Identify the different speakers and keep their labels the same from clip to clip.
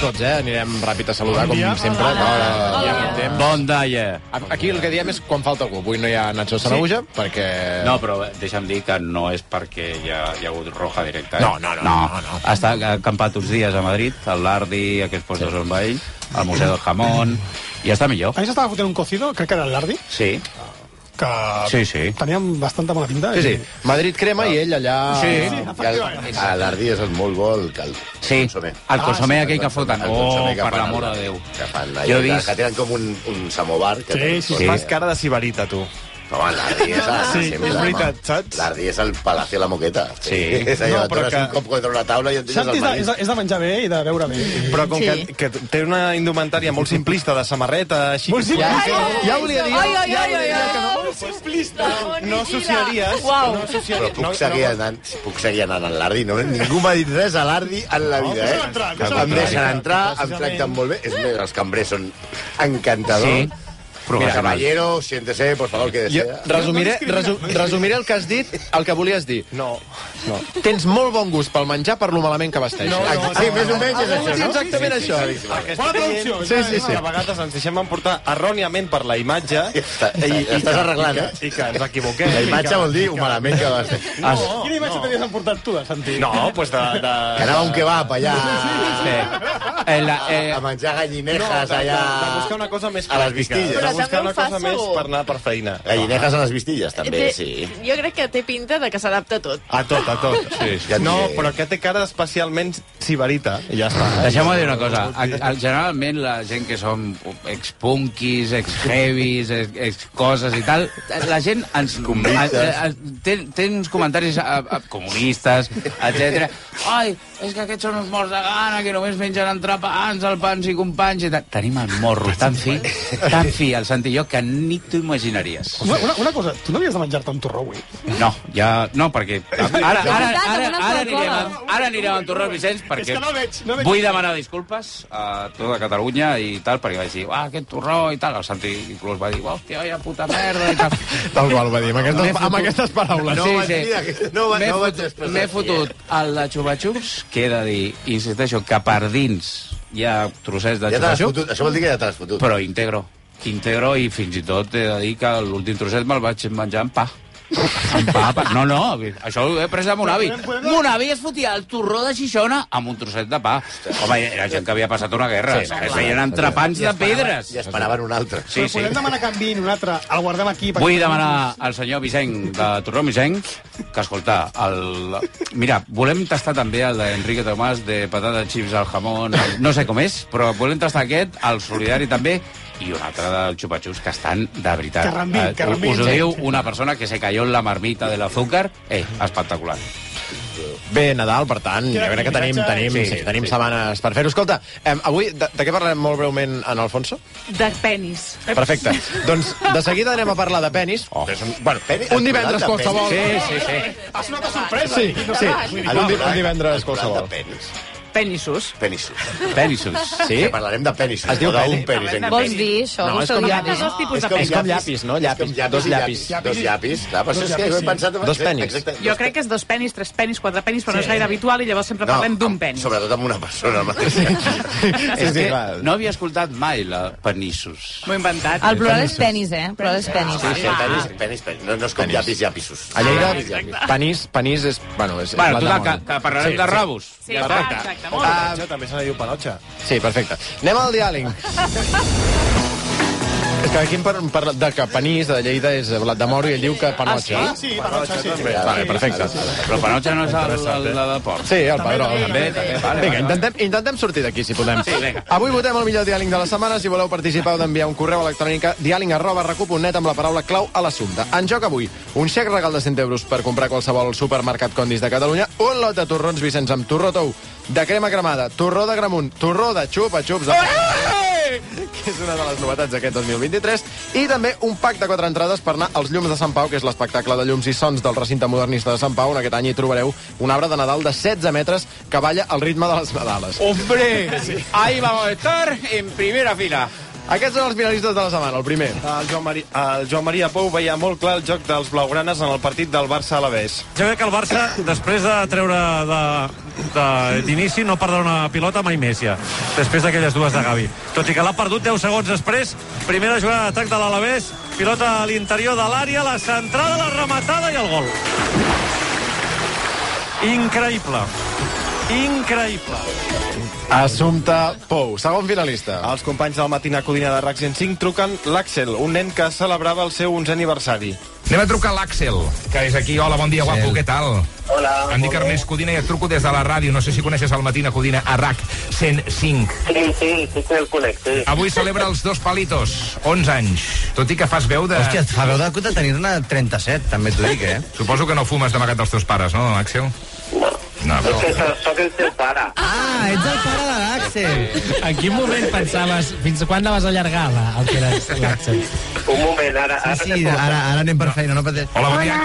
Speaker 1: tots, eh? Anirem ràpid a saludar,
Speaker 2: Bon dia.
Speaker 1: com sempre. Hola.
Speaker 3: Hola.
Speaker 1: Ja amb temps.
Speaker 4: Bon dia.
Speaker 1: Aquí el que diem és quan falta algú. Avui no hi ha Nacho Sanaúja, sí. perquè...
Speaker 4: No, però eh, deixa'm dir que no és perquè hi ha, hi ha hagut roja directa. Eh?
Speaker 1: No, no, no, no, no.
Speaker 4: Ha estat acampat uns dies a Madrid, al Lardi, aquests pocs sí. on va ell, al Museu del Jamón, i està millor.
Speaker 2: Ahir s'estava fotent un cocido, crec que era el Lardi,
Speaker 4: Sí,
Speaker 2: que
Speaker 4: Sí, sí.
Speaker 2: teníem bastanta bona pinta.
Speaker 1: Sí,
Speaker 2: eh.
Speaker 1: sí.
Speaker 2: i-
Speaker 1: Madrid crema i ell allà...
Speaker 4: Sí.
Speaker 2: Sí, efectivament.
Speaker 5: A Ah, l'Ardi és el molt bo, el, el
Speaker 4: sí.
Speaker 5: consomé.
Speaker 4: El consomé
Speaker 2: Ah, sí,
Speaker 4: aquell que foten.
Speaker 5: El
Speaker 4: Oh,
Speaker 5: consomé que
Speaker 4: per
Speaker 5: fan
Speaker 4: l'amor
Speaker 5: al-
Speaker 4: de Déu.
Speaker 5: Que, fan, allò,
Speaker 4: Jo he
Speaker 5: que-
Speaker 4: vist-
Speaker 5: que tenen com un, un samovar. Que
Speaker 2: Sí,
Speaker 5: tenen
Speaker 2: sí,
Speaker 5: tot.
Speaker 2: sí.
Speaker 6: Fas cara de sibarita, tu.
Speaker 5: Home, l'Ardi és... el-
Speaker 2: Sí,
Speaker 5: sempre,
Speaker 6: és
Speaker 5: home.
Speaker 6: veritat, saps?
Speaker 5: L'Ardi és el Palacio de la Moqueta.
Speaker 4: Sí.
Speaker 5: és allò,
Speaker 6: No,
Speaker 5: no,
Speaker 6: però
Speaker 5: però que...
Speaker 6: que-
Speaker 5: un cop contra una taula i et deixes
Speaker 2: Santi
Speaker 5: al
Speaker 2: és de,
Speaker 5: marit.
Speaker 2: és, de, és de menjar bé i de beure bé.
Speaker 6: Però com
Speaker 3: Sí.
Speaker 6: que, que té una indumentària molt simplista, de samarreta, així...
Speaker 2: Molt simple.
Speaker 6: Ja,
Speaker 3: Ja volia dir... Ai, ai, ai, ai, ai, ai.
Speaker 6: no associaries...
Speaker 3: Uau.
Speaker 6: No
Speaker 5: Però
Speaker 6: associaries...
Speaker 5: puc, no, seguir no, anant, puc seguir anant a l'Ardi, no? Ningú m'ha dit res a l'Ardi en la vida,
Speaker 2: deixa'l
Speaker 5: eh?
Speaker 2: entrar,
Speaker 5: em
Speaker 2: deixa'l
Speaker 5: deixen
Speaker 2: entrar.
Speaker 5: entrar, em
Speaker 2: Precisament.
Speaker 5: tracten molt bé. És més, els cambrers són encantadors.
Speaker 4: Sí.
Speaker 5: Sí. Mira,
Speaker 4: Professional.
Speaker 5: caballero, siéntese, por favor, que
Speaker 1: Jo,
Speaker 5: desea.
Speaker 1: resumiré, resu, resumiré el que has dit, el que volies dir.
Speaker 6: No.
Speaker 1: Tens molt bon gust pel menjar per lo malament que vesteixes.
Speaker 6: No, no,
Speaker 5: Sí, més o menys és això,
Speaker 1: Sí,
Speaker 5: no?
Speaker 1: exactament això.
Speaker 2: Bona traducció.
Speaker 6: Sí,
Speaker 2: ja,
Speaker 6: sí,
Speaker 2: ja.
Speaker 6: sí. A vegades ens deixem emportar erròniament per la imatge i,
Speaker 5: Està- Estàs arreglant,
Speaker 6: i,
Speaker 5: eh?
Speaker 6: i que ens equivoquem.
Speaker 5: La
Speaker 6: i
Speaker 5: imatge
Speaker 6: que-
Speaker 5: vol dir
Speaker 6: i
Speaker 5: ho
Speaker 6: que-
Speaker 5: malament que vas fer.
Speaker 4: Has,
Speaker 2: Quina imatge t'havies emportat tu, de Santi?
Speaker 6: No, doncs pues de... de...
Speaker 5: Que anava un kebab allà,
Speaker 4: sí. Eh, la, eh,
Speaker 5: a menjar
Speaker 6: No,
Speaker 5: gallinejas
Speaker 6: de, de,
Speaker 5: allà...
Speaker 6: de buscar una cosa més
Speaker 5: a les
Speaker 6: pràctica,
Speaker 5: vistilles. Però
Speaker 6: De buscar
Speaker 3: també
Speaker 6: una
Speaker 3: ho fa
Speaker 6: cosa més
Speaker 3: segur.
Speaker 6: per anar per feina.
Speaker 5: Gallinejas a les vistilles, també, sí.
Speaker 3: Jo crec que té pinta de que s'adapta a tot.
Speaker 6: A tot, a tot. Sí,
Speaker 5: sí.
Speaker 6: No, però que té cara especialment sibarita. I ja està.
Speaker 4: Deixeu-me dir una cosa. A- a- Generalment la gent que som ex-punkis, ex-heavies, ex- ex-coses i tal, la gent ens...
Speaker 5: Comunistes.
Speaker 4: a- a- a- Té, té uns comentaris a, a, comunistes, etc. Ai, és que aquests són uns morts de gana, que només mengen entrepans, el pans i companys i tal. Tenim el morro tan fi, tan fi, el Santi i jo, que ni t'ho imaginaries.
Speaker 2: Una, una, una cosa, tu no havies de menjar-te un torró avui?
Speaker 4: No, ja... No, perquè... Ara, ara, ara, ara, ara, anirem, a- ara anirem amb Torró Vicenç perquè
Speaker 2: És que no veig, no veig.
Speaker 4: vull demanar disculpes a tota Catalunya i tal, perquè vaig dir, ah, aquest torró i tal. El Santi inclús va dir, hòstia, vaya puta merda i tal.
Speaker 1: Tal qual va dir, amb aquestes,
Speaker 4: amb
Speaker 1: aquestes paraules.
Speaker 5: No vaig dir aquest- no va-
Speaker 4: M'he
Speaker 5: no vaig
Speaker 4: fotut,
Speaker 5: expressar
Speaker 4: m'he
Speaker 5: així,
Speaker 4: fotut el de Xupa Xups, que he de dir, insisteixo, que per dins hi ha trossets de
Speaker 5: Ja te
Speaker 4: Xupa
Speaker 5: l'has
Speaker 4: Xups,
Speaker 5: fotut, això vol dir que ja te l'has fotut.
Speaker 4: però integro. Integro i fins i tot he de dir que l'últim trosset me'l vaig menjar amb pa. Amb pa, pa. No, no, això ho he pres de mon avi. Mon avi es fotia el torró de Xixona amb un trosset de pa. Home, era gent que havia passat una guerra. Sí, feien entrepans de pedres.
Speaker 5: I esperaven un altre.
Speaker 4: Sí,
Speaker 2: Però
Speaker 4: sí.
Speaker 2: podem demanar que enviïn un altre, el guardem aquí... perquè-
Speaker 4: Vull demanar al senyor Vicenc de Torró Vicenc que, escolta, el... mira, volem tastar també el d'Enrique Tomàs de patata chips al jamón, el- no sé com és, però volem tastar aquest, el solidari també, i un altre del xupa-xups que estan de veritat.
Speaker 2: Que rambin,
Speaker 4: Eh,
Speaker 2: que rambin,
Speaker 4: Us ho
Speaker 2: sí.
Speaker 4: diu una persona que se cayó en la marmita de l'azúcar. Eh, espectacular.
Speaker 1: Bé, Nadal, per tant, jo
Speaker 2: Queda
Speaker 1: crec que tenim,
Speaker 2: viatge.
Speaker 1: tenim, sí, sí, tenim setmanes per fer-ho. Escolta, eh, avui de, de què parlarem molt breument en Alfonso?
Speaker 3: De penis.
Speaker 1: Perfecte. doncs de seguida anem a parlar de penis. Oh. Un, bueno,
Speaker 5: Penis-
Speaker 1: un divendres
Speaker 5: de penis.
Speaker 1: qualsevol.
Speaker 4: Sí, sí, sí.
Speaker 2: Ha sonat a sorpresa.
Speaker 1: Sí, sí.
Speaker 5: El
Speaker 1: Un, di
Speaker 5: pla-
Speaker 1: un divendres
Speaker 5: el pla
Speaker 1: qualsevol.
Speaker 5: de Penis.
Speaker 3: Penissos.
Speaker 5: Penissos.
Speaker 4: Penisos.
Speaker 1: Sí?
Speaker 5: Que parlarem de penis.
Speaker 1: Es diu
Speaker 5: d'un
Speaker 1: penis.
Speaker 5: penis. en
Speaker 7: Vols dir això?
Speaker 1: No,
Speaker 7: No,
Speaker 1: és com
Speaker 7: Gustavo,
Speaker 3: Dos tipus
Speaker 5: És
Speaker 3: de
Speaker 5: com,
Speaker 1: És
Speaker 3: penis.
Speaker 1: com llapis, no? Llapis.
Speaker 5: com llapis,
Speaker 1: Dos
Speaker 5: i
Speaker 1: llapis.
Speaker 5: Dos llapis. Clar, per això és que
Speaker 2: llapis,
Speaker 5: jo he
Speaker 2: sí.
Speaker 5: pensat...
Speaker 1: Dos penis.
Speaker 5: Exacte.
Speaker 3: Jo crec que és dos penis, tres penis, quatre penis, però no és gaire habitual i llavors sempre parlem d'un
Speaker 5: amb-
Speaker 3: penis.
Speaker 5: Sobretot amb una persona. mateixa.
Speaker 4: És que
Speaker 1: clar.
Speaker 4: no havia escoltat mai la penissos.
Speaker 3: M'ho he inventat.
Speaker 1: Ah,
Speaker 7: El plural és penis, eh? El plural és penis.
Speaker 5: Sí, sí, penis, penis, penis. No, no és com llapis, llapisos.
Speaker 1: A Lleida,
Speaker 5: Llapis, llapis.
Speaker 1: penís, penís és... Bueno, és,
Speaker 4: Ah, Bueno,
Speaker 1: és blat
Speaker 4: total,
Speaker 1: de
Speaker 4: que,
Speaker 1: moro.
Speaker 4: que parlarem de rabos.
Speaker 3: Sí, exacte, molt
Speaker 1: Ah,
Speaker 3: bé.
Speaker 6: Panotxa, també se li diu panotxa.
Speaker 1: Sí, perfecte. Anem al diàleg. és que aquí em parla par de que penís de Lleida és blat de moro i ell diu que panotxa.
Speaker 2: Ah, sí, per això sí.
Speaker 5: Ja,
Speaker 1: Vale, perfecte.
Speaker 4: Però Panotxa no és el, el, el de porc.
Speaker 1: Sí, el padró.
Speaker 4: També, també, vale.
Speaker 1: Vinga,
Speaker 4: vale.
Speaker 1: intentem, intentem sortir d'aquí, si podem.
Speaker 4: Sí, vinga.
Speaker 1: Avui votem el millor diàleg de la setmana. Si voleu participar, heu d'enviar un correu electrònic a diàleg arroba recu.net amb la paraula clau a l'assumpte. En joc avui, un xec regal de 100 euros per comprar a qualsevol supermercat Condis de Catalunya, un lot de torrons Vicenç amb torró tou, de crema cremada, torró de gramunt, torró de xupa-xups de... que és una de les novetats d'aquest 2023, i també un pack de quatre entrades per anar als Llums de Sant Pau, que és l'espectacle de llums i sons del recinte modernista de Sant Pau. En aquest any hi trobareu un arbre de Nadal de 16 metres que balla al ritme de les Nadales.
Speaker 4: Hombre, ahí vamos a estar en primera fila.
Speaker 1: Aquests són els finalistes de la setmana, el primer.
Speaker 6: El Joan, Mari... el Joan Maria Pou veia molt clar el joc dels blaugranes en el partit del Barça a la Bés.
Speaker 8: Jo crec que el Barça, després de treure de- de- d'inici, no perdrà una pilota mai més, ja, després d'aquelles dues de Gavi. Tot i que l'ha perdut 10 segons després, primera jugada d'atac de l'Alavés, pilota a l'interior de l'àrea, la centrada, la rematada i el gol. Increïble. Increïble.
Speaker 1: Assumpta Pou, segon finalista.
Speaker 6: Els companys del Matina Codina de RAC 105 truquen l'Àxel, un nen que celebrava el seu 11è aniversari.
Speaker 9: Anem a trucar a l'Àxel, que és aquí. Hola, bon dia, guapo, què tal? Hola. Em dic Ernest Codina i et truco des de la ràdio. No sé si coneixes el Matina Codina, a RAC 105.
Speaker 10: Sí, sí, sí que el conec, sí.
Speaker 9: Avui celebra els dos palitos, 11 anys. Tot i que fas veu de...
Speaker 11: Hòstia, et fa veu de, de tenir-ne 37, també t'ho dic, eh?
Speaker 9: Suposo que no fumes d'amagat dels teus pares, no, Àxel?
Speaker 10: No.
Speaker 9: No,
Speaker 10: És que so- sóc el teu pare.
Speaker 11: Ah, ets el pare de l'Àxel.
Speaker 12: Eh, En quin moment pensaves, fins quan la vas allargar, la, el que eres l'Àxel?
Speaker 10: Un moment, ara... ara
Speaker 11: Sí, sí, ara, ara anem per feina, no pateix.
Speaker 9: Hola, bon dia.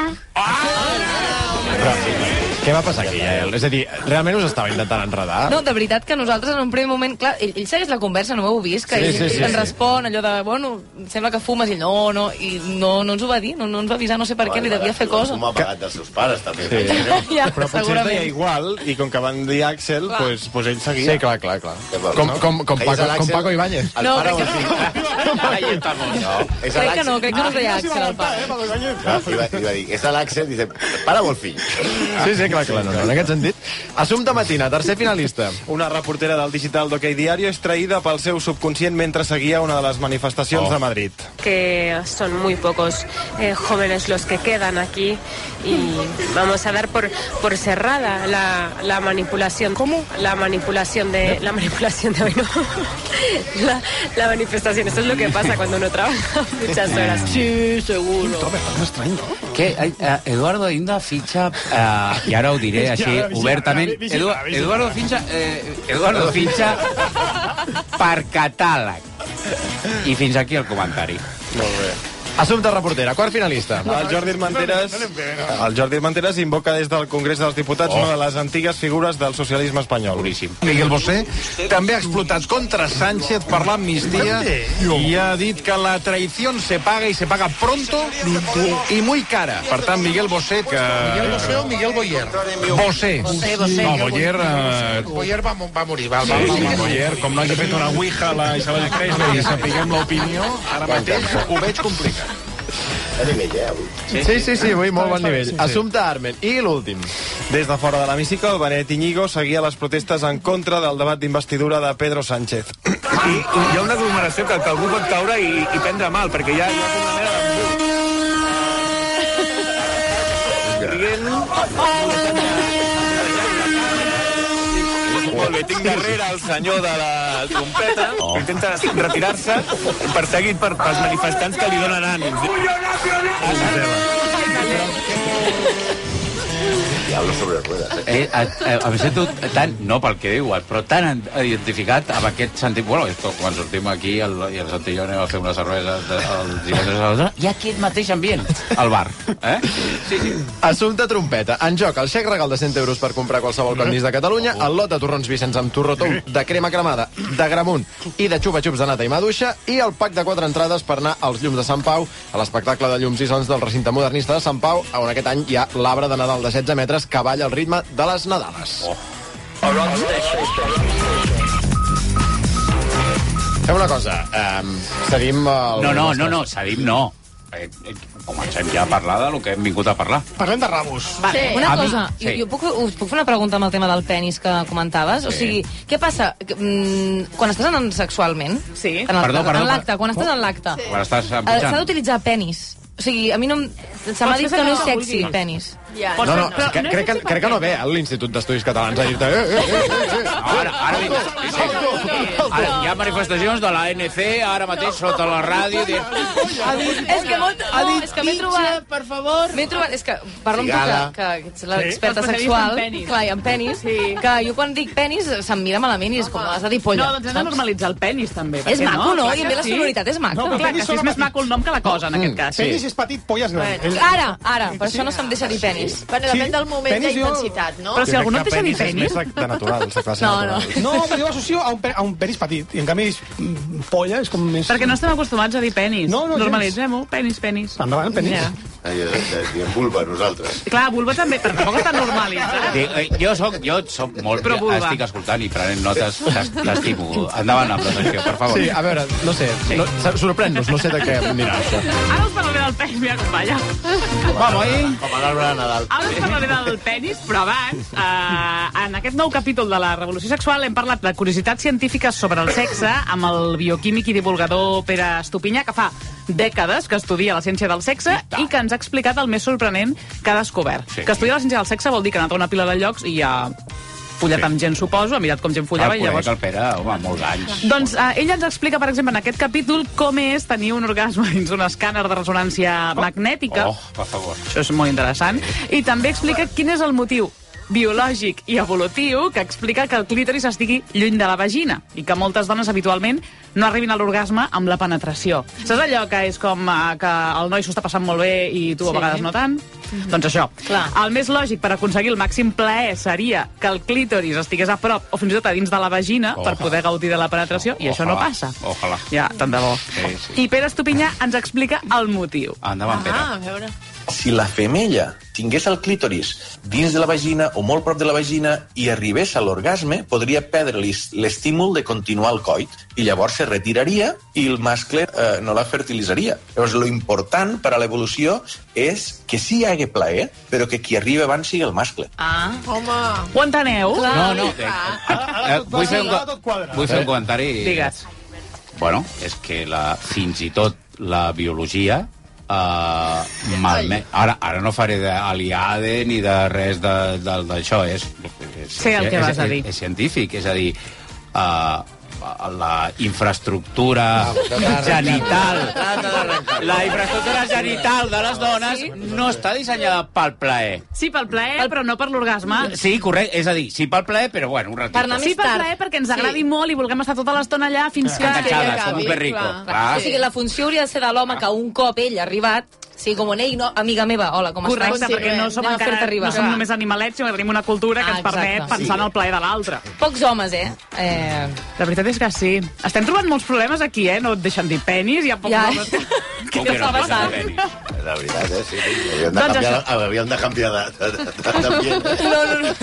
Speaker 1: Què va passar aquí, Yael? És a dir, realment us estava intentant enredar?
Speaker 7: No, de veritat que nosaltres en un primer moment... Clar, ell, ell segueix la conversa, no ho heu vist? Que
Speaker 1: Sí,
Speaker 7: ell,
Speaker 1: sí, sí,
Speaker 7: ell
Speaker 1: sí.
Speaker 7: ens respon allò de, bueno, sembla que fumes, i ell, no, no, i no, no ens ho va dir, no, no ens va avisar, no sé per què, li devia fer cosa.
Speaker 5: Com ha pagat dels seus pares, també.
Speaker 6: Sí.
Speaker 7: ja,
Speaker 6: Però potser es deia
Speaker 7: segurament.
Speaker 6: igual, i com que van dir Àxel,
Speaker 7: Clar.
Speaker 6: pues, pues ell seguia.
Speaker 1: Sí, clar, clar, clar.
Speaker 5: Què vols,
Speaker 1: Com,
Speaker 5: no?
Speaker 1: com, com,
Speaker 5: Que és
Speaker 1: Paco, com
Speaker 5: l'Àxel-
Speaker 1: Paco Ibáñez.
Speaker 5: El
Speaker 7: No,
Speaker 5: pare
Speaker 7: crec
Speaker 5: o el
Speaker 7: que
Speaker 5: fill?
Speaker 4: Ahí estamos.
Speaker 5: No, és
Speaker 7: Crec que
Speaker 5: l'Àxel.
Speaker 7: no, crec que no es deia Àxel, el pare.
Speaker 5: Clar, li va, li va dir, és l'Àxel, dice, pare o el fill?
Speaker 1: Sí, sí, clar, clar. No, no, en aquest sentit. Assumpta Matina, tercer finalista.
Speaker 6: Una reportera del digital d'Ok Diario és traïda pel seu subconscient mentre seguia una de les manifestacions
Speaker 5: Oh.
Speaker 6: oh. de Madrid.
Speaker 10: que son muy pocos eh, jóvenes los que quedan aquí y vamos a dar por, por cerrada la, la manipulación. ¿Cómo? La manipulación de la manipulación de hoy, ¿no? La, la manifestación. Eso es lo que pasa cuando uno trabaja muchas horas. Sí, seguro.
Speaker 4: Que, eh, Eduardo Inda fitxa, eh, i ara ho diré així,
Speaker 2: Ja, vigila,
Speaker 4: obertament,
Speaker 2: vi- vigila,
Speaker 4: Edu-
Speaker 2: vigila.
Speaker 4: Eduardo fitxa, eh, Eduardo fitxa per catàleg. I fins aquí el comentari.
Speaker 1: Assumpta reportera, quart finalista.
Speaker 6: El Jordi Armenteres, el Jordi Armenteres invoca des del Congrés dels Diputats oh. una de les antigues figures del socialisme espanyol.
Speaker 4: Boníssim.
Speaker 9: Miguel Bosé també ha explotat contra Sánchez per l'amnistia i ha dit que la traïció se paga i se paga pronto i muy cara. Per tant, Miguel Bosé, que... Miguel Bosé o Miguel Boyer? Bosé.
Speaker 7: Bosé, Bosé.
Speaker 9: No, Boyer... Eh...
Speaker 11: Boyer va, va morir, va, va,
Speaker 9: Miguel Boyer, com no hagi fet una ouija a la Isabel Crespo i sapiguem l'opinió, ara mateix ho veig complicat.
Speaker 5: A nivell, eh, avui.
Speaker 1: Sí, sí, sí, avui molt bon nivell. Assumpta Armen. I l'últim.
Speaker 6: Des de fora de l'hemicicle, el Benet Iñigo seguia les protestes en contra del debat d'investidura de Pedro Sánchez.
Speaker 8: I, i hi ha una aglomeració que, que algú pot caure i, i prendre mal, perquè hi ha, hi ha com una mena de... Diguem... Molt bé, tinc darrere el senyor de la trompeta, oh. que intenta retirar-se, perseguit per, pels manifestants que li donen ànims.
Speaker 5: I hablo sobre ruedas, eh?
Speaker 4: Eh, eh, eh, em sento tan, no pel que diuen, però tan eh, identificat amb aquest sentit. Bueno, esto, quan sortim aquí el, i el Santi i jo anem a fer una cervesa de, el divendres a la hi ha aquest mateix ambient al bar. Eh? Sí, sí.
Speaker 1: Assumpta Trompeta. En joc, el xec regal de 100 euros per comprar qualsevol condis de Catalunya, el lot de torrons Vicenç amb torró tou de crema cremada, de gramunt i de xupa-xups de nata i maduixa, i el pack de quatre entrades per anar als Llums de Sant Pau, a l'espectacle de llums i sons del recinte modernista de Sant Pau, on aquest any hi ha l'arbre de Nadal de 16 metres que balla al ritme de les Nadales. Oh. Fem una cosa, um, seguim... El...
Speaker 4: No, no, no, no, Sadim no. Eh, eh, comencem ja a parlar de lo que hem vingut a parlar.
Speaker 2: Parlem de rabos.
Speaker 7: Vale. Una
Speaker 4: A mi-
Speaker 7: cosa,
Speaker 4: sí.
Speaker 7: jo, jo puc, us puc fer una pregunta amb el tema del penis que comentaves? O sigui, què passa que, mm, quan estàs en sexualment?
Speaker 3: Sí.
Speaker 7: En el-
Speaker 4: Perdó, perdó,
Speaker 7: En l'acte, quan estàs en l'acte.
Speaker 4: Quan estàs
Speaker 7: Eh, S'ha
Speaker 4: empujant.
Speaker 7: d'utilitzar penis. O sigui, a mi no... em- Se m'ha
Speaker 3: Pots
Speaker 7: dit
Speaker 3: fer
Speaker 7: que
Speaker 3: servir
Speaker 7: no és
Speaker 3: el que
Speaker 7: sexy,
Speaker 3: vulguis.
Speaker 7: penis.
Speaker 3: Pots
Speaker 1: No, no,
Speaker 3: fer- però
Speaker 1: que, crec, que,
Speaker 3: és
Speaker 1: crec que no ve a l'Institut d'Estudis Catalans a dir-te... Eh, eh, eh, eh, eh.
Speaker 4: Ara, ara, vinc- sí, sí. ara, hi ha manifestacions de l'ANC ara mateix sota la ràdio dient...
Speaker 7: És que molt... No, és que m'he trobat...
Speaker 12: per favor.
Speaker 7: M'he trobat... És que parlo amb tu, que,
Speaker 5: Cigala.
Speaker 7: que ets l'experta
Speaker 3: Especialista en
Speaker 7: sexual.
Speaker 3: penis.
Speaker 7: Clar, i en penis.
Speaker 3: Sí.
Speaker 7: Que jo quan dic penis se'm mira malament i és com, has de dir polla.
Speaker 3: No, doncs hem de
Speaker 7: saps?
Speaker 3: normalitzar el penis, també. per
Speaker 7: És
Speaker 3: què
Speaker 7: maco, no?
Speaker 3: Clar
Speaker 7: I
Speaker 3: que
Speaker 7: a més la
Speaker 3: sí.
Speaker 7: sonoritat és maca.
Speaker 2: No, però
Speaker 3: Clar que
Speaker 2: Penis
Speaker 3: sí,
Speaker 2: són
Speaker 3: és més maco el nom que la cosa, en aquest cas.
Speaker 2: Penis és petit, polles gran.
Speaker 7: Ara, ara, per això no se'm deixa dir penis.
Speaker 13: penis. Bueno, depèn del moment i
Speaker 2: penis
Speaker 13: la
Speaker 2: jo-
Speaker 13: intensitat, no?
Speaker 2: Però si algú no té
Speaker 6: penis
Speaker 2: penis.
Speaker 6: és més de, de natural, de classe
Speaker 13: No,
Speaker 6: natural.
Speaker 2: No, però jo l'associo a, un pe- a un penis petit. I en canvi, és, mm, polla és com més...
Speaker 3: Perquè no estem acostumats a dir penis.
Speaker 2: No, no, gens. Ah.
Speaker 3: Normalitzem-ho, penis, penis.
Speaker 2: Endavant, penis.
Speaker 3: Ja.
Speaker 5: Ai, eh, eh, Diem vulva, nosaltres.
Speaker 3: Clar, vulva també, però tampoc està normalitzat.
Speaker 4: Sí, eh, jo soc, jo soc molt...
Speaker 3: Però vulva.
Speaker 4: estic escoltant i prenent notes, t'es- t'estimo. Endavant amb la secció, per favor.
Speaker 1: Sí, a veure, no sé, no, sorprèn-nos, no sé de què anirà això.
Speaker 3: Ara us parlaré del penis, mira com balla.
Speaker 5: Vamos, eh? Com a l'arbre de Nadal.
Speaker 3: Ara us parlaré del penis, però abans, eh, en aquest nou capítol de la Revolució Sexual hem parlat de curiositats científiques sobre el sexe amb el bioquímic i divulgador Pere Estupinyà, que fa dècades que estudia la ciència del sexe i que ens ha explicat el més sorprenent que ha descobert.
Speaker 4: Sí.
Speaker 3: Que estudiar la ciència del sexe vol dir que ha anat a una pila de llocs i ha follat amb gent, suposo, ha mirat com gent
Speaker 4: Follava
Speaker 3: follava i llavors...
Speaker 4: Ah, El Pere, home, molts anys.
Speaker 3: Doncs eh, ell ens explica, per exemple, en aquest capítol com és tenir un orgasme dins un escàner de ressonància magnètica.
Speaker 4: Oh, per favor.
Speaker 3: Això és molt interessant. I també explica quin és el motiu biològic i evolutiu que explica que el clítoris estigui lluny de la vagina i que moltes dones habitualment no arribin a l'orgasme amb la penetració. Saps allò que és com eh, que el noi s'ho està passant molt bé i tu
Speaker 13: Sí. Mhm.
Speaker 3: a vegades no tant? Doncs això.
Speaker 13: Clar.
Speaker 3: El més lògic per aconseguir el màxim plaer seria que el clítoris estigués a prop o fins i tot a dins de la vagina
Speaker 4: Oh.
Speaker 3: per poder gaudir de la penetració i això no
Speaker 4: Ojalà,
Speaker 3: passa.
Speaker 4: Ojalà.
Speaker 3: Ja, tant de bo.
Speaker 4: Sí, sí.
Speaker 3: I Pere Estupinyà ens explica el motiu.
Speaker 4: Endavant, Pere.
Speaker 3: Ah,
Speaker 13: Ah, a veure.
Speaker 14: si la femella tingués el clítoris dins de la vagina o molt prop de la vagina i arribés a l'orgasme, podria perdre l'is- l'estímul de continuar el coit i llavors se retiraria i el mascle eh, no la fertilitzaria. Llavors, lo important per a l'evolució és que sí hi hagi plaer, però que qui arriba abans sigui el mascle.
Speaker 3: Ah.
Speaker 13: Home...
Speaker 3: Ho enteneu?
Speaker 13: Clar.
Speaker 4: No, no, Eh,
Speaker 13: tot
Speaker 4: vull, fer un,
Speaker 13: quadra,
Speaker 4: co-
Speaker 13: tot quadra.
Speaker 4: vull fer un comentari.
Speaker 3: Digues.
Speaker 4: Bueno, és que la, fins i tot la biologia eh, malme... Ara, ara no faré d'aliade ni de res de- del- d'això, és, és...
Speaker 3: Sé el que
Speaker 4: és,
Speaker 3: vas a
Speaker 4: és-
Speaker 3: dir.
Speaker 4: És, científic, és a dir... Eh, la infraestructura genital la infraestructura genital de les dones no està dissenyada pel plaer
Speaker 3: Sí, pel plaer, però no per l'orgasme.
Speaker 4: sí, correcte, és a dir, sí pel plaer però bueno, un ratito
Speaker 3: sí, per plaer, perquè ens agradi molt i volguem estar tota l'estona allà fins que...
Speaker 4: enganxades, com un
Speaker 7: acabi,
Speaker 4: perrico.
Speaker 7: clar.
Speaker 4: Clar.
Speaker 7: O sigui, la funció hauria de ser de l'home que un cop ell ha arribat, sigui com on ell, no, amiga meva, hola, com estàs?
Speaker 3: Correcte, perquè no som,
Speaker 7: Anem a
Speaker 3: encara,
Speaker 7: fer-te arribar.
Speaker 3: no som només animalets, sinó que tenim una cultura que
Speaker 7: Ah,
Speaker 3: ens permet
Speaker 7: exacte.
Speaker 3: pensar
Speaker 7: Sí.
Speaker 3: en el plaer de l'altre.
Speaker 7: Pocs homes, eh? eh...
Speaker 3: La veritat és que sí. Estem trobant molts problemes aquí, eh? No et deixen dir penis, hi ha pocs
Speaker 7: Ja.
Speaker 3: homes.
Speaker 5: Com
Speaker 3: que no passa.
Speaker 5: La veritat, eh? Sí, sí. Havíem de
Speaker 3: Doncs
Speaker 5: canviar,
Speaker 3: això.
Speaker 5: havíem de canviar de- de- de- de- d'ambient. eh?
Speaker 3: No, no, no.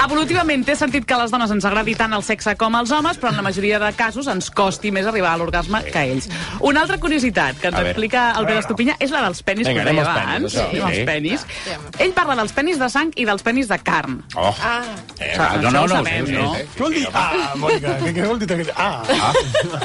Speaker 3: Evolutivament té sentit que a les dones ens agradi tant el sexe com als homes, però en la majoria de casos ens costi més arribar a l'orgasme que a ells. Una altra curiositat que ens
Speaker 4: A veure.
Speaker 3: explica
Speaker 4: A
Speaker 3: el
Speaker 4: veure.
Speaker 3: Pere Estupinyà és la dels penis
Speaker 4: Vinga,
Speaker 3: que us deia
Speaker 4: anem als
Speaker 3: abans.
Speaker 4: penis, això.
Speaker 3: Anem als
Speaker 4: Sí.
Speaker 3: penis. Ell parla dels penis de sang i dels penis de carn.
Speaker 4: Oh.
Speaker 13: Ah.
Speaker 4: Eh,
Speaker 3: Això-
Speaker 4: no,
Speaker 3: això
Speaker 4: no,
Speaker 3: ho
Speaker 4: no,
Speaker 3: sabem,
Speaker 4: sí, sí,
Speaker 3: no?
Speaker 4: sí.
Speaker 2: Què vol dir? Ah, Mònica, què, què vol dir? aquest- Ah,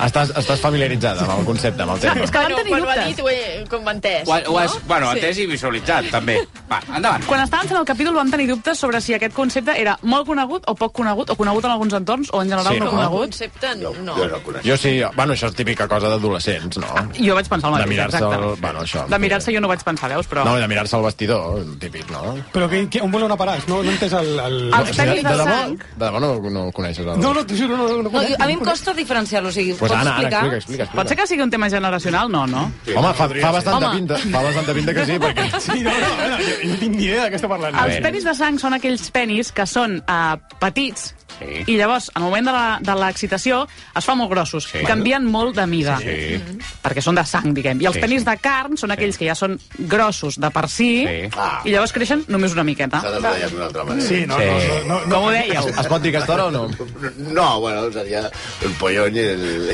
Speaker 1: Estàs, estàs familiaritzada amb el concepte, amb el
Speaker 13: És que
Speaker 1: tema.
Speaker 13: vam tenir dubtes. Quan ho ha dit, ho he com ho he entès.
Speaker 4: Ho, ha- ho has,
Speaker 13: no?
Speaker 4: bueno, entès i visualitzat, també. Va, endavant.
Speaker 3: Quan estàvem fent el capítol vam tenir dubtes sobre si aquest concepte era molt conegut o poc conegut, o conegut en alguns entorns, o en general
Speaker 1: Sí,
Speaker 3: no
Speaker 1: no?
Speaker 3: conegut.
Speaker 13: Concepte, no.
Speaker 5: Jo no conec.
Speaker 1: Jo sí, bueno, això és típica cosa d'adolescents, no?
Speaker 3: Jo vaig pensar el
Speaker 1: De
Speaker 3: mateix,
Speaker 1: mirar-se
Speaker 3: exacte.
Speaker 1: el... Bueno, això.
Speaker 3: De mirar-se jo no vaig pensar, veus, però...
Speaker 1: No, i de mirar-se el vestidor, el típic, no?
Speaker 2: però que, que, on voleu anar a parar? No, no he entès el... el...
Speaker 1: O
Speaker 3: Els
Speaker 1: sigui,
Speaker 3: penis de
Speaker 1: de debò,
Speaker 3: sang...
Speaker 1: de debò no, no el coneixes. El...
Speaker 2: No, no, t'ho juro, no, no, no,
Speaker 7: No,
Speaker 2: conec,
Speaker 7: jo- a mi em
Speaker 2: no conec.
Speaker 7: costa diferenciar-lo, o sigui,
Speaker 1: Pues
Speaker 7: pots
Speaker 1: Anna, Anna,
Speaker 7: explicar?
Speaker 1: explica, explica. explica.
Speaker 3: Pot ser que sigui un tema generacional? No, no.
Speaker 1: Home, fa, fa bastanta
Speaker 7: Home.
Speaker 1: pinta, fa bastanta pinta que sí, perquè...
Speaker 2: Sí, no, no, no, jo, jo no tinc ni idea de què està parlant.
Speaker 3: Els penis de sang són aquells penis que són eh, petits
Speaker 4: Sí.
Speaker 3: i llavors, en el moment de la- de l'excitació, es fan molt grossos,
Speaker 4: Sí.
Speaker 3: canvien molt de mida,
Speaker 4: Sí.
Speaker 3: perquè són de sang, diguem. I els
Speaker 4: Sí,
Speaker 3: penis
Speaker 4: sí.
Speaker 3: de carn són aquells que ja són grossos de per si
Speaker 4: Sí.
Speaker 3: i llavors creixen només una miqueta.
Speaker 5: S'ha de treballar d'una altra manera.
Speaker 2: Sí, no,
Speaker 4: Sí.
Speaker 2: no, no, no,
Speaker 3: Com ho dèieu?
Speaker 1: Es pot dir que està o no?
Speaker 5: No, bueno, seria el pollón i el...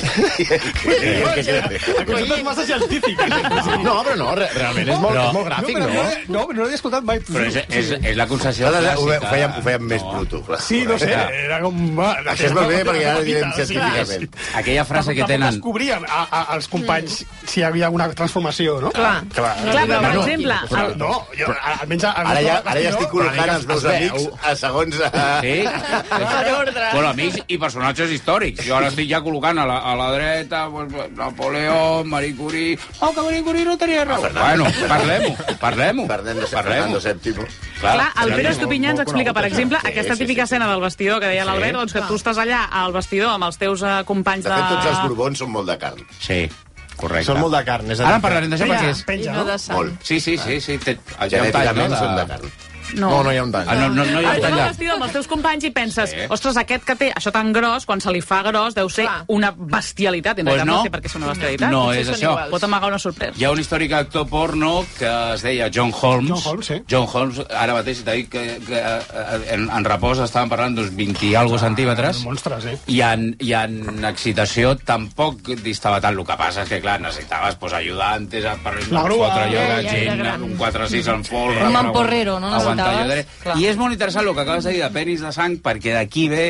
Speaker 2: El concepte és massa científic.
Speaker 1: No, però no, re, realment és molt,
Speaker 4: Però-
Speaker 1: és molt gràfic,
Speaker 2: no,
Speaker 1: no?
Speaker 2: però no, no, no l'he escoltat mai.
Speaker 4: Però és, és, és la concessió
Speaker 5: Nosaltres ho,
Speaker 4: clàssica.
Speaker 5: ho fèiem, ho fèiem més bruto. clar.
Speaker 2: Sí, no sé, era com... Va,
Speaker 5: Això és molt bé perquè ara direm
Speaker 2: Sí,
Speaker 5: científicament.
Speaker 4: Aquella frase que
Speaker 2: Tampoc
Speaker 4: tenen...
Speaker 2: descobríem a, a, als companys si hi havia alguna transformació, no?
Speaker 13: Clar.
Speaker 2: Clar,
Speaker 3: Clar, però, per
Speaker 1: no,
Speaker 3: exemple,
Speaker 2: No,
Speaker 3: el,
Speaker 2: no jo, almenys... a-
Speaker 5: Ara ja, ara ja estic col·locant
Speaker 1: Però
Speaker 5: els meus
Speaker 1: es veu.
Speaker 5: amics a segons... A...
Speaker 4: Sí? Bueno, amics i personatges històrics. Jo ara estic ja col·locant a la, a la dreta pues, Napoleó, Marie Curie... Oh, que Marie Curie no tenia raó. Bueno, parlem-ho, parlem-ho.
Speaker 5: Fernando,
Speaker 4: Parlem-ho.
Speaker 5: Fernando VII.
Speaker 3: clar, el Pere Estupinyà ens
Speaker 1: molt
Speaker 3: explica, per
Speaker 1: conegut,
Speaker 3: exemple,
Speaker 5: això. Sí,
Speaker 3: aquesta
Speaker 5: sí,
Speaker 3: típica
Speaker 5: sí.
Speaker 3: escena del vestidor que deia l'Albert, doncs que tu estàs allà al vestidor amb els teus eh, companys
Speaker 5: De fet, tots els
Speaker 3: de...
Speaker 5: borbons són molt de carn.
Speaker 4: Sí. Correcte.
Speaker 1: Són molt de carn, és a dir
Speaker 4: Ara
Speaker 1: que-
Speaker 4: parlarem d'això
Speaker 1: Penja,
Speaker 4: perquè és...
Speaker 1: penja, I no no? de sang.
Speaker 4: Molt. Sí, sí, sí. sí té...
Speaker 5: Genèticament són de
Speaker 4: carn.
Speaker 3: No.
Speaker 1: No, no hi ha un tall.
Speaker 4: Ah, no, no, no hi ha
Speaker 3: Ara
Speaker 4: un
Speaker 3: tu
Speaker 4: tall.
Speaker 3: vas vestida amb els teus companys i penses,
Speaker 4: Sí.
Speaker 3: ostres, aquest que té això tan gros, quan se li fa gros, deu ser una bestialitat. I En
Speaker 4: Pues
Speaker 3: realitat
Speaker 4: no.
Speaker 3: no sé per què és una bestialitat.
Speaker 4: No,
Speaker 3: Potser
Speaker 4: és
Speaker 3: són
Speaker 4: això.
Speaker 3: iguals. Pot amagar una sorpresa.
Speaker 4: Hi ha un històric actor porno que es deia John Holmes. John Holmes, sí. John Holmes, ara mateix t'ha dit que, que eh, en, en repòs estaven parlant d'uns 20 i algo centímetres.
Speaker 2: Monstres, eh?
Speaker 4: I en, i en excitació tampoc distava tant. El que passa és que, clar, necessitaves pues, ajudantes a per
Speaker 2: La grua.
Speaker 4: fotre allò
Speaker 7: Ja,
Speaker 4: de
Speaker 7: ja era
Speaker 4: gent,
Speaker 7: gran.
Speaker 4: un 4-6 en folre.
Speaker 7: Un
Speaker 4: però
Speaker 7: mamporrero, no
Speaker 4: aguantar
Speaker 7: necessitaves?
Speaker 4: allò dret.
Speaker 7: Clar.
Speaker 4: I és molt interessant el que acabes de dir de penis de sang, perquè d'aquí ve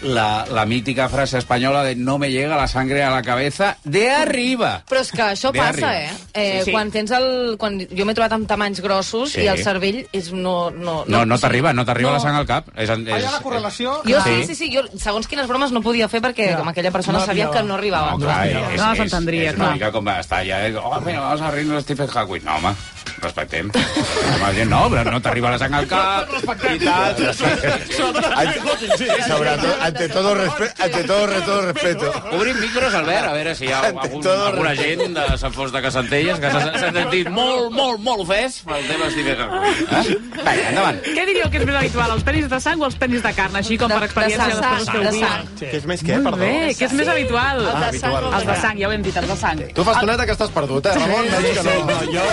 Speaker 4: la, la mítica frase espanyola de no me llega la sangre a la cabeza de arriba.
Speaker 7: Però és que això
Speaker 4: Ve
Speaker 7: passa, eh?
Speaker 4: arriba.
Speaker 7: eh
Speaker 4: Sí, sí.
Speaker 7: Quan tens el... Quan jo m'he trobat amb tamanys grossos
Speaker 4: Sí.
Speaker 7: i el cervell és no... No,
Speaker 4: No, no t'arriba, no t'arriba no.
Speaker 7: No.
Speaker 4: la sang al cap. És, és,
Speaker 2: correlació...
Speaker 7: Jo sí, sí, sí, jo segons quines bromes no podia fer perquè com aquella persona
Speaker 4: No
Speaker 7: sabia
Speaker 4: arribava.
Speaker 7: que no arribava.
Speaker 4: No, clar, eh? és, és,
Speaker 7: les entendria,
Speaker 4: és una
Speaker 7: clar.
Speaker 4: mica com va estar allà. eh? Oh, mira, vamos a reírnos de Stephen Hawking. No, home, respectem. Home, gent, no, però no t'arriba la sang al cap. I tal.
Speaker 5: Sobretot, ante todo, respe ante todo, re- todo respeto.
Speaker 4: Obrim micros, Albert, a veure si hi ha algun,
Speaker 5: todo
Speaker 4: alguna gent de Sant Fos de Casantelles que s'ha s'ha sentit molt, molt, molt ofès pel tema Stephen Hawking. Eh? Vinga, endavant.
Speaker 3: Què diríeu que és més habitual, els penis de sang o els penis de carn? Així com
Speaker 7: De-
Speaker 3: per experiència
Speaker 7: de
Speaker 3: de,
Speaker 7: sang,
Speaker 3: les coses que heu
Speaker 7: de
Speaker 3: vist.
Speaker 7: sang.
Speaker 1: Que és més què,
Speaker 3: Molt
Speaker 1: perdó?
Speaker 3: Bé, què és més habitual?
Speaker 1: El
Speaker 4: Ah,
Speaker 1: de
Speaker 7: Ah,
Speaker 1: sang o el de
Speaker 3: Els de
Speaker 1: carn.
Speaker 3: sang, ja ho hem dit, els de sang.
Speaker 1: Tu fa estoneta que estàs perdut, eh, Ramon?
Speaker 6: Sí,
Speaker 1: Veig que no.
Speaker 6: sí, sí. Jo-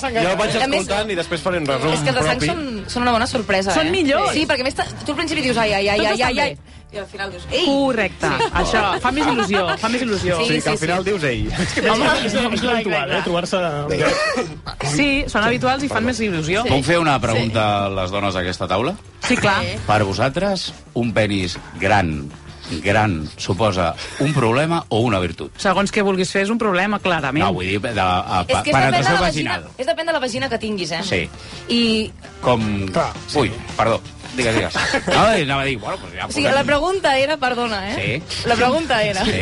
Speaker 6: Jo vaig
Speaker 7: A més-
Speaker 6: escoltant i després faré un resum
Speaker 7: És que els de sang
Speaker 6: propi.
Speaker 7: són, són una bona sorpresa,
Speaker 3: Són
Speaker 7: eh?
Speaker 3: millors.
Speaker 7: Sí, perquè a més te- tu al principi dius ai, ai, ai,
Speaker 3: Tots
Speaker 7: ai, ai,
Speaker 3: estan
Speaker 7: ai. I al final dius... Ei!
Speaker 3: Correcte. Això, fa més il·lusió, fa més il·lusió.
Speaker 7: Sí, Sí, que al sí, final
Speaker 1: dius ell.
Speaker 2: És el més habitual, eh? Trobar-se...
Speaker 3: Sí, són habituals i fan més il·lusió.
Speaker 4: Puc fer una pregunta a les dones d'aquesta taula?
Speaker 3: Sí, clar.
Speaker 4: Per vosaltres, un penis gran, gran, suposa un problema o una virtut?
Speaker 3: Segons què vulguis fer és un problema, clarament.
Speaker 4: No, vull dir, de, a,
Speaker 7: És
Speaker 4: pa,
Speaker 7: que és depèn, de
Speaker 4: penetració
Speaker 7: la vagina,
Speaker 4: vaginal.
Speaker 7: és depèn de la vagina que tinguis, eh?
Speaker 4: Sí,
Speaker 7: I,
Speaker 4: com... Clar, sí. Ui, perdó, digues, digues. No, anava a dir, bueno, pues ja...
Speaker 7: o sigui, la pregunta era... Perdona, eh?
Speaker 4: Sí.
Speaker 7: La pregunta era...
Speaker 4: Sí,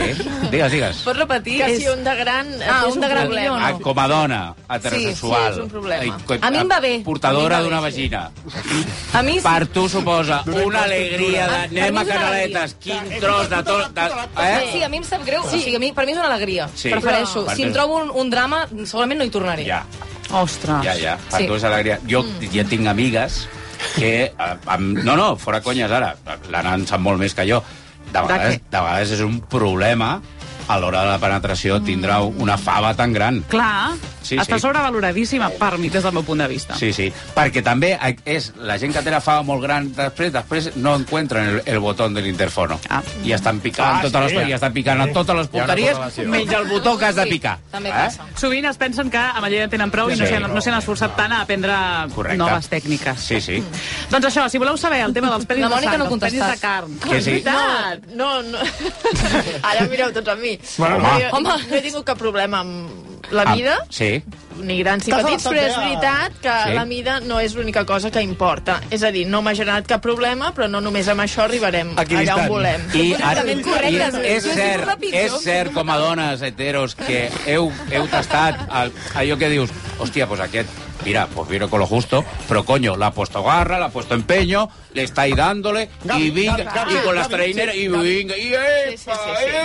Speaker 4: digues, digues.
Speaker 7: Pots repetir?
Speaker 13: Que
Speaker 7: És-
Speaker 13: si un de gran...
Speaker 7: Ah,
Speaker 13: és
Speaker 7: un de gran
Speaker 13: problema.
Speaker 7: millor, no?
Speaker 4: Ah, com a dona heterosexual.
Speaker 7: Sí, sí, és un problema.
Speaker 4: eh, co-
Speaker 7: A mi em va bé.
Speaker 4: Portadora
Speaker 7: A mi em va
Speaker 4: d'una
Speaker 7: bé, sí.
Speaker 4: vagina.
Speaker 7: A mi sí.
Speaker 4: Per tu suposa
Speaker 7: D'una
Speaker 4: una alegria de
Speaker 7: infraestructura. A- a
Speaker 4: anem
Speaker 7: mi
Speaker 4: a
Speaker 7: és una
Speaker 4: canaletes, quin tros de tot... De,
Speaker 7: Eh? Sí,
Speaker 4: eh?
Speaker 7: a mi em sap greu. Sí. O sigui, a mi, per mi és una alegria.
Speaker 4: Sí.
Speaker 7: Sí. Prefereixo.
Speaker 4: Però-
Speaker 7: Si em trobo un, un drama, segurament no hi tornaré.
Speaker 4: Ja.
Speaker 3: Ostres.
Speaker 4: Ja, ja. Per
Speaker 7: Ah. Sí. Mm.
Speaker 4: tu és alegria. Jo ja tinc amigues que... eh, Amb, no, no, fora conyes ara. La nan sap molt més que jo. De vegades, de, vegades és un problema a l'hora de la
Speaker 7: Mm.
Speaker 4: penetració tindrà una fava tan gran.
Speaker 3: Clar,
Speaker 4: Sí,
Speaker 3: està
Speaker 4: sí.
Speaker 3: sobrevaloradíssima per mi, des del meu punt de vista.
Speaker 4: Sí, sí, perquè també és la gent que té la fava molt gran després, després no encuentren el, el botó de l'interfono. Ah. I estan picant
Speaker 9: Ah,
Speaker 4: ah, totes
Speaker 9: sí,
Speaker 4: les,
Speaker 9: ja.
Speaker 4: i estan picant a totes les
Speaker 9: Hi ha una
Speaker 4: punteries,
Speaker 9: correlació.
Speaker 4: menys el botó que has de picar.
Speaker 7: També
Speaker 4: Eh?
Speaker 7: passa.
Speaker 3: Sovint es pensen que a Mallorca tenen prou i no
Speaker 4: Sí.
Speaker 3: s'hi han- no s'hi han esforçat tant a aprendre
Speaker 4: Correcte.
Speaker 3: noves tècniques.
Speaker 4: Sí, sí.
Speaker 7: Mm.
Speaker 3: Doncs això, si voleu saber el tema dels pelis
Speaker 13: La
Speaker 3: de
Speaker 13: Mònica
Speaker 3: sang,
Speaker 13: no
Speaker 3: dels pelis
Speaker 13: contestàs.
Speaker 3: de carn...
Speaker 13: Que
Speaker 4: sí.
Speaker 13: No, no, no. Ara mireu tots a mi.
Speaker 4: Bueno, home.
Speaker 13: Jo, home. no he tingut cap problema amb la mida,
Speaker 4: Ah, sí.
Speaker 13: ni grans ni
Speaker 2: T'has
Speaker 13: petits,
Speaker 2: adaptat
Speaker 13: però
Speaker 2: bé
Speaker 13: és
Speaker 2: a-
Speaker 4: eh?
Speaker 13: veritat que
Speaker 4: Sí.
Speaker 13: la mida no és l'única cosa que importa. És a dir, no m'ha generat cap problema, però no només amb això arribarem allà on volem.
Speaker 4: I, ara,
Speaker 13: Completament
Speaker 4: i
Speaker 13: correctes,
Speaker 4: és,
Speaker 13: jo he sigut la
Speaker 4: cert,
Speaker 13: pitjor.
Speaker 4: és cert, com a dones heteros, que heu, heu tastat el, allò que dius, hòstia, pues aquest, mira, pues vino con lo justo, però coño, l'ha puesto garra, l'ha puesto empeño, le estáis dándole, y vinga,
Speaker 3: Gavi,
Speaker 4: y con las
Speaker 3: Gavi,
Speaker 4: traineras,
Speaker 3: sí,
Speaker 4: y
Speaker 3: Gavi.
Speaker 4: vinga, y eh,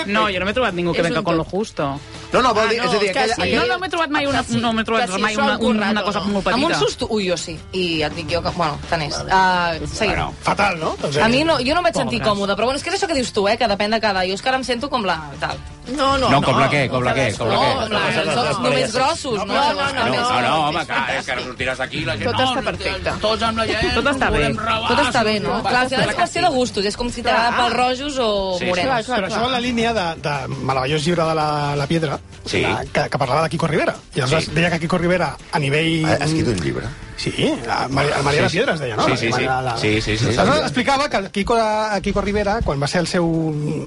Speaker 3: No, jo no m'he trobat ningú que
Speaker 13: És
Speaker 3: venga
Speaker 13: un
Speaker 3: con lo justo.
Speaker 1: No, no, vol dir- és a dir,
Speaker 13: que
Speaker 1: aquella-
Speaker 13: sí.
Speaker 1: aquella-
Speaker 3: No, no m'he trobat mai
Speaker 13: Ah,
Speaker 3: una, no m'he trobat
Speaker 7: Que sí,
Speaker 3: mai
Speaker 7: sou
Speaker 3: una, un-
Speaker 7: currat,
Speaker 3: una cosa
Speaker 7: o no?
Speaker 3: molt petita.
Speaker 7: Amb un susto... Ui, jo sí. I et dic jo que... Bueno, tant és. Uh, seguim.
Speaker 4: Bueno.
Speaker 2: Fatal, no? Doncs, eh,
Speaker 7: A mi no, jo no em vaig sentir
Speaker 2: pobres.
Speaker 7: còmode, però bueno, és que és això que dius tu, eh, que depèn de cada... Jo és que ara em sento com la... Tal.
Speaker 13: No,
Speaker 4: No, com la què, com la què, com la què.
Speaker 7: No, com la... Sols només grossos, no?
Speaker 13: no, no,
Speaker 4: No, no, no, home, clar, és que ara sortiràs d'aquí i la gent...
Speaker 13: Tot
Speaker 4: no,
Speaker 13: està perfecte.
Speaker 4: Tots amb la gent,
Speaker 3: Tot està bé.
Speaker 4: volem robar,
Speaker 3: Ah,
Speaker 7: Tot està bé, no?
Speaker 4: som-
Speaker 7: Clar, al final és qüestió de gustos. És com si t'agrada pels rojos o
Speaker 4: Sí, sí.
Speaker 7: morenos.
Speaker 2: Però això va en la línia de, de meravellós llibre de la, la Piedra,
Speaker 4: Sí.
Speaker 2: la, que, que parlava de Quico Rivera. I aleshores
Speaker 4: Sí.
Speaker 2: sí. deia que Quico Rivera, a nivell...
Speaker 5: Ha, ha escrit un llibre.
Speaker 2: Sí, la, Mar el Maria de la
Speaker 5: Sí, sí.
Speaker 2: Piedra es deia, no?
Speaker 5: Sí, sí,
Speaker 2: La-
Speaker 5: sí.
Speaker 2: la- la-
Speaker 5: Sí, sí, sí.
Speaker 2: Aleshores explicava que el Quico, de- Quico Rivera, quan va ser el seu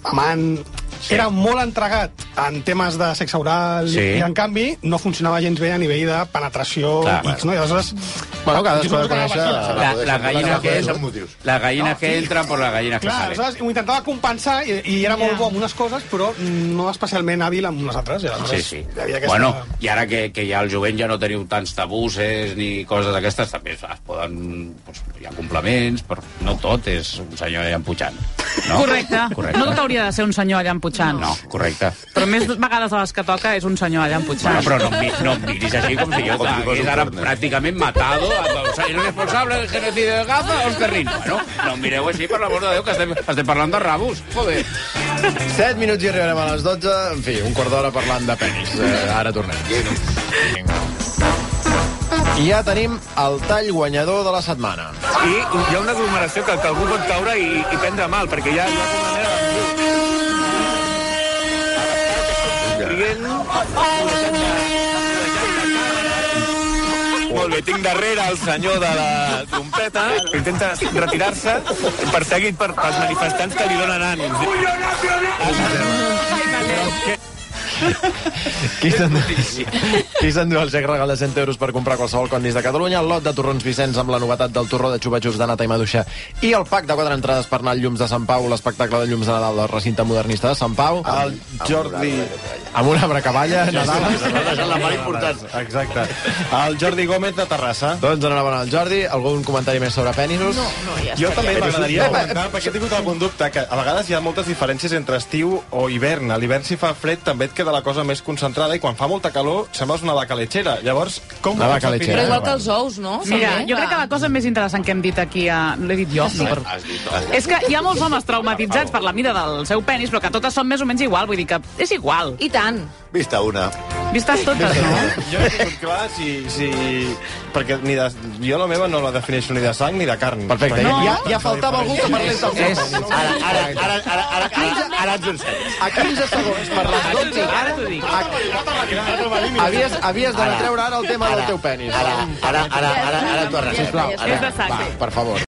Speaker 2: amant, sí. era molt entregat en temes de sexe oral
Speaker 1: Sí.
Speaker 2: i, en canvi, no funcionava gens bé a nivell de penetració
Speaker 4: Clar,
Speaker 2: X, no? I aleshores...
Speaker 1: Bueno, cadascú ha de
Speaker 2: Jo penso que
Speaker 1: conèixer...
Speaker 2: la
Speaker 4: La, la gallina que
Speaker 1: és...
Speaker 4: entra, la gallina que entra per la gallina que
Speaker 2: Clar,
Speaker 4: sale.
Speaker 2: aleshores ho intentava compensar i, i era molt bo amb unes coses, però no especialment hàbil amb les altres. I
Speaker 4: Sí,
Speaker 2: aleshores
Speaker 4: sí.
Speaker 2: hi havia
Speaker 4: Aquesta... Bueno, i ara que, que ja el jovent ja no teniu tants tabuses ni coses d'aquestes, també es es poden... Doncs, hi ha complements, però no tot és un senyor allà empujant. No?
Speaker 3: Correcte.
Speaker 4: Correcte.
Speaker 3: No tot hauria de ser un senyor allà empujant.
Speaker 4: No, correcte.
Speaker 3: Però Però més vegades a les que toca és un senyor allà emputxant.
Speaker 4: Bueno, però no, em mi- no em miris així com si jo
Speaker 3: Com si fos
Speaker 4: t'hagués
Speaker 3: un
Speaker 4: ara
Speaker 3: cornet.
Speaker 4: pràcticament matado amb el senyor responsable del genocidi de Gaza, Oscar Rin. Bueno, no em mireu així, per l'amor de Déu, que estem, estem parlant de rabos. Joder.
Speaker 1: 7 minuts i arribarem a les 12. En fi, un quart d'hora parlant de penis. Eh, ara tornem. I ja tenim el tall guanyador de la setmana.
Speaker 15: I hi ha una aglomeració que, que algú pot caure i, i prendre mal, perquè hi ha, hi ha una manera... Rient... Molt bé, tinc darrere el senyor de la trompeta que intenta retirar-se perseguit per, pels manifestants que li donen ànims.
Speaker 1: Qui s'endú s'endú el xec regal de 100 euros per comprar qualsevol condis de Catalunya, el lot de torrons Vicenç amb la novetat del torró de xupa-xups de nata i maduixa i el pack de quatre entrades per anar al Llums de Sant Pau, l'espectacle de Llums de Nadal del recinte modernista de Sant Pau. El
Speaker 6: Jordi...
Speaker 1: Amb una bracaballa, Nadal.
Speaker 5: la part important.
Speaker 6: Exacte. El Jordi Gómez de Terrassa.
Speaker 1: Doncs enhorabona al Jordi. Algun comentari més sobre penisos? No, no,
Speaker 6: Jo també m'agradaria aguantar, perquè he tingut algun dubte, que a vegades hi ha moltes diferències entre estiu o hivern. A l'hivern, si fa fred, també et queda la cosa més concentrada i quan fa molta calor sembles una vaca lechera. Llavors, com...
Speaker 1: Una
Speaker 6: pots
Speaker 1: vaca
Speaker 6: afinar?
Speaker 1: lechera. Però igual
Speaker 7: que els ous, no?
Speaker 3: Mira,
Speaker 7: També.
Speaker 3: jo crec que la cosa més interessant que hem dit aquí, a... l'he dit jo, no, però... És que hi ha molts homes traumatitzats per la mida del seu penis, però que totes són més o menys igual, vull dir que és igual.
Speaker 7: I tant.
Speaker 5: Vista una.
Speaker 3: Vistes totes, no?
Speaker 6: Jo no tinc clar si... si... Perquè ni de... jo la meva no la defineixo ni de sang ni de carn.
Speaker 1: Perfecte.
Speaker 6: Perquè-
Speaker 1: Ja, ja faltava algú que parlés del seu penis.
Speaker 5: Ara, ara, ara, ara, ara, ara, ara ens en sé.
Speaker 1: A 15 segons, per les 12... Ara t'ho dic. Havies, havies de retreure ara el tema del teu penis.
Speaker 5: Ara, ara, ara, ara, ara, ara, ara, ara, ara,
Speaker 1: Sisplau.
Speaker 5: ara, ara,
Speaker 1: Va, per favor.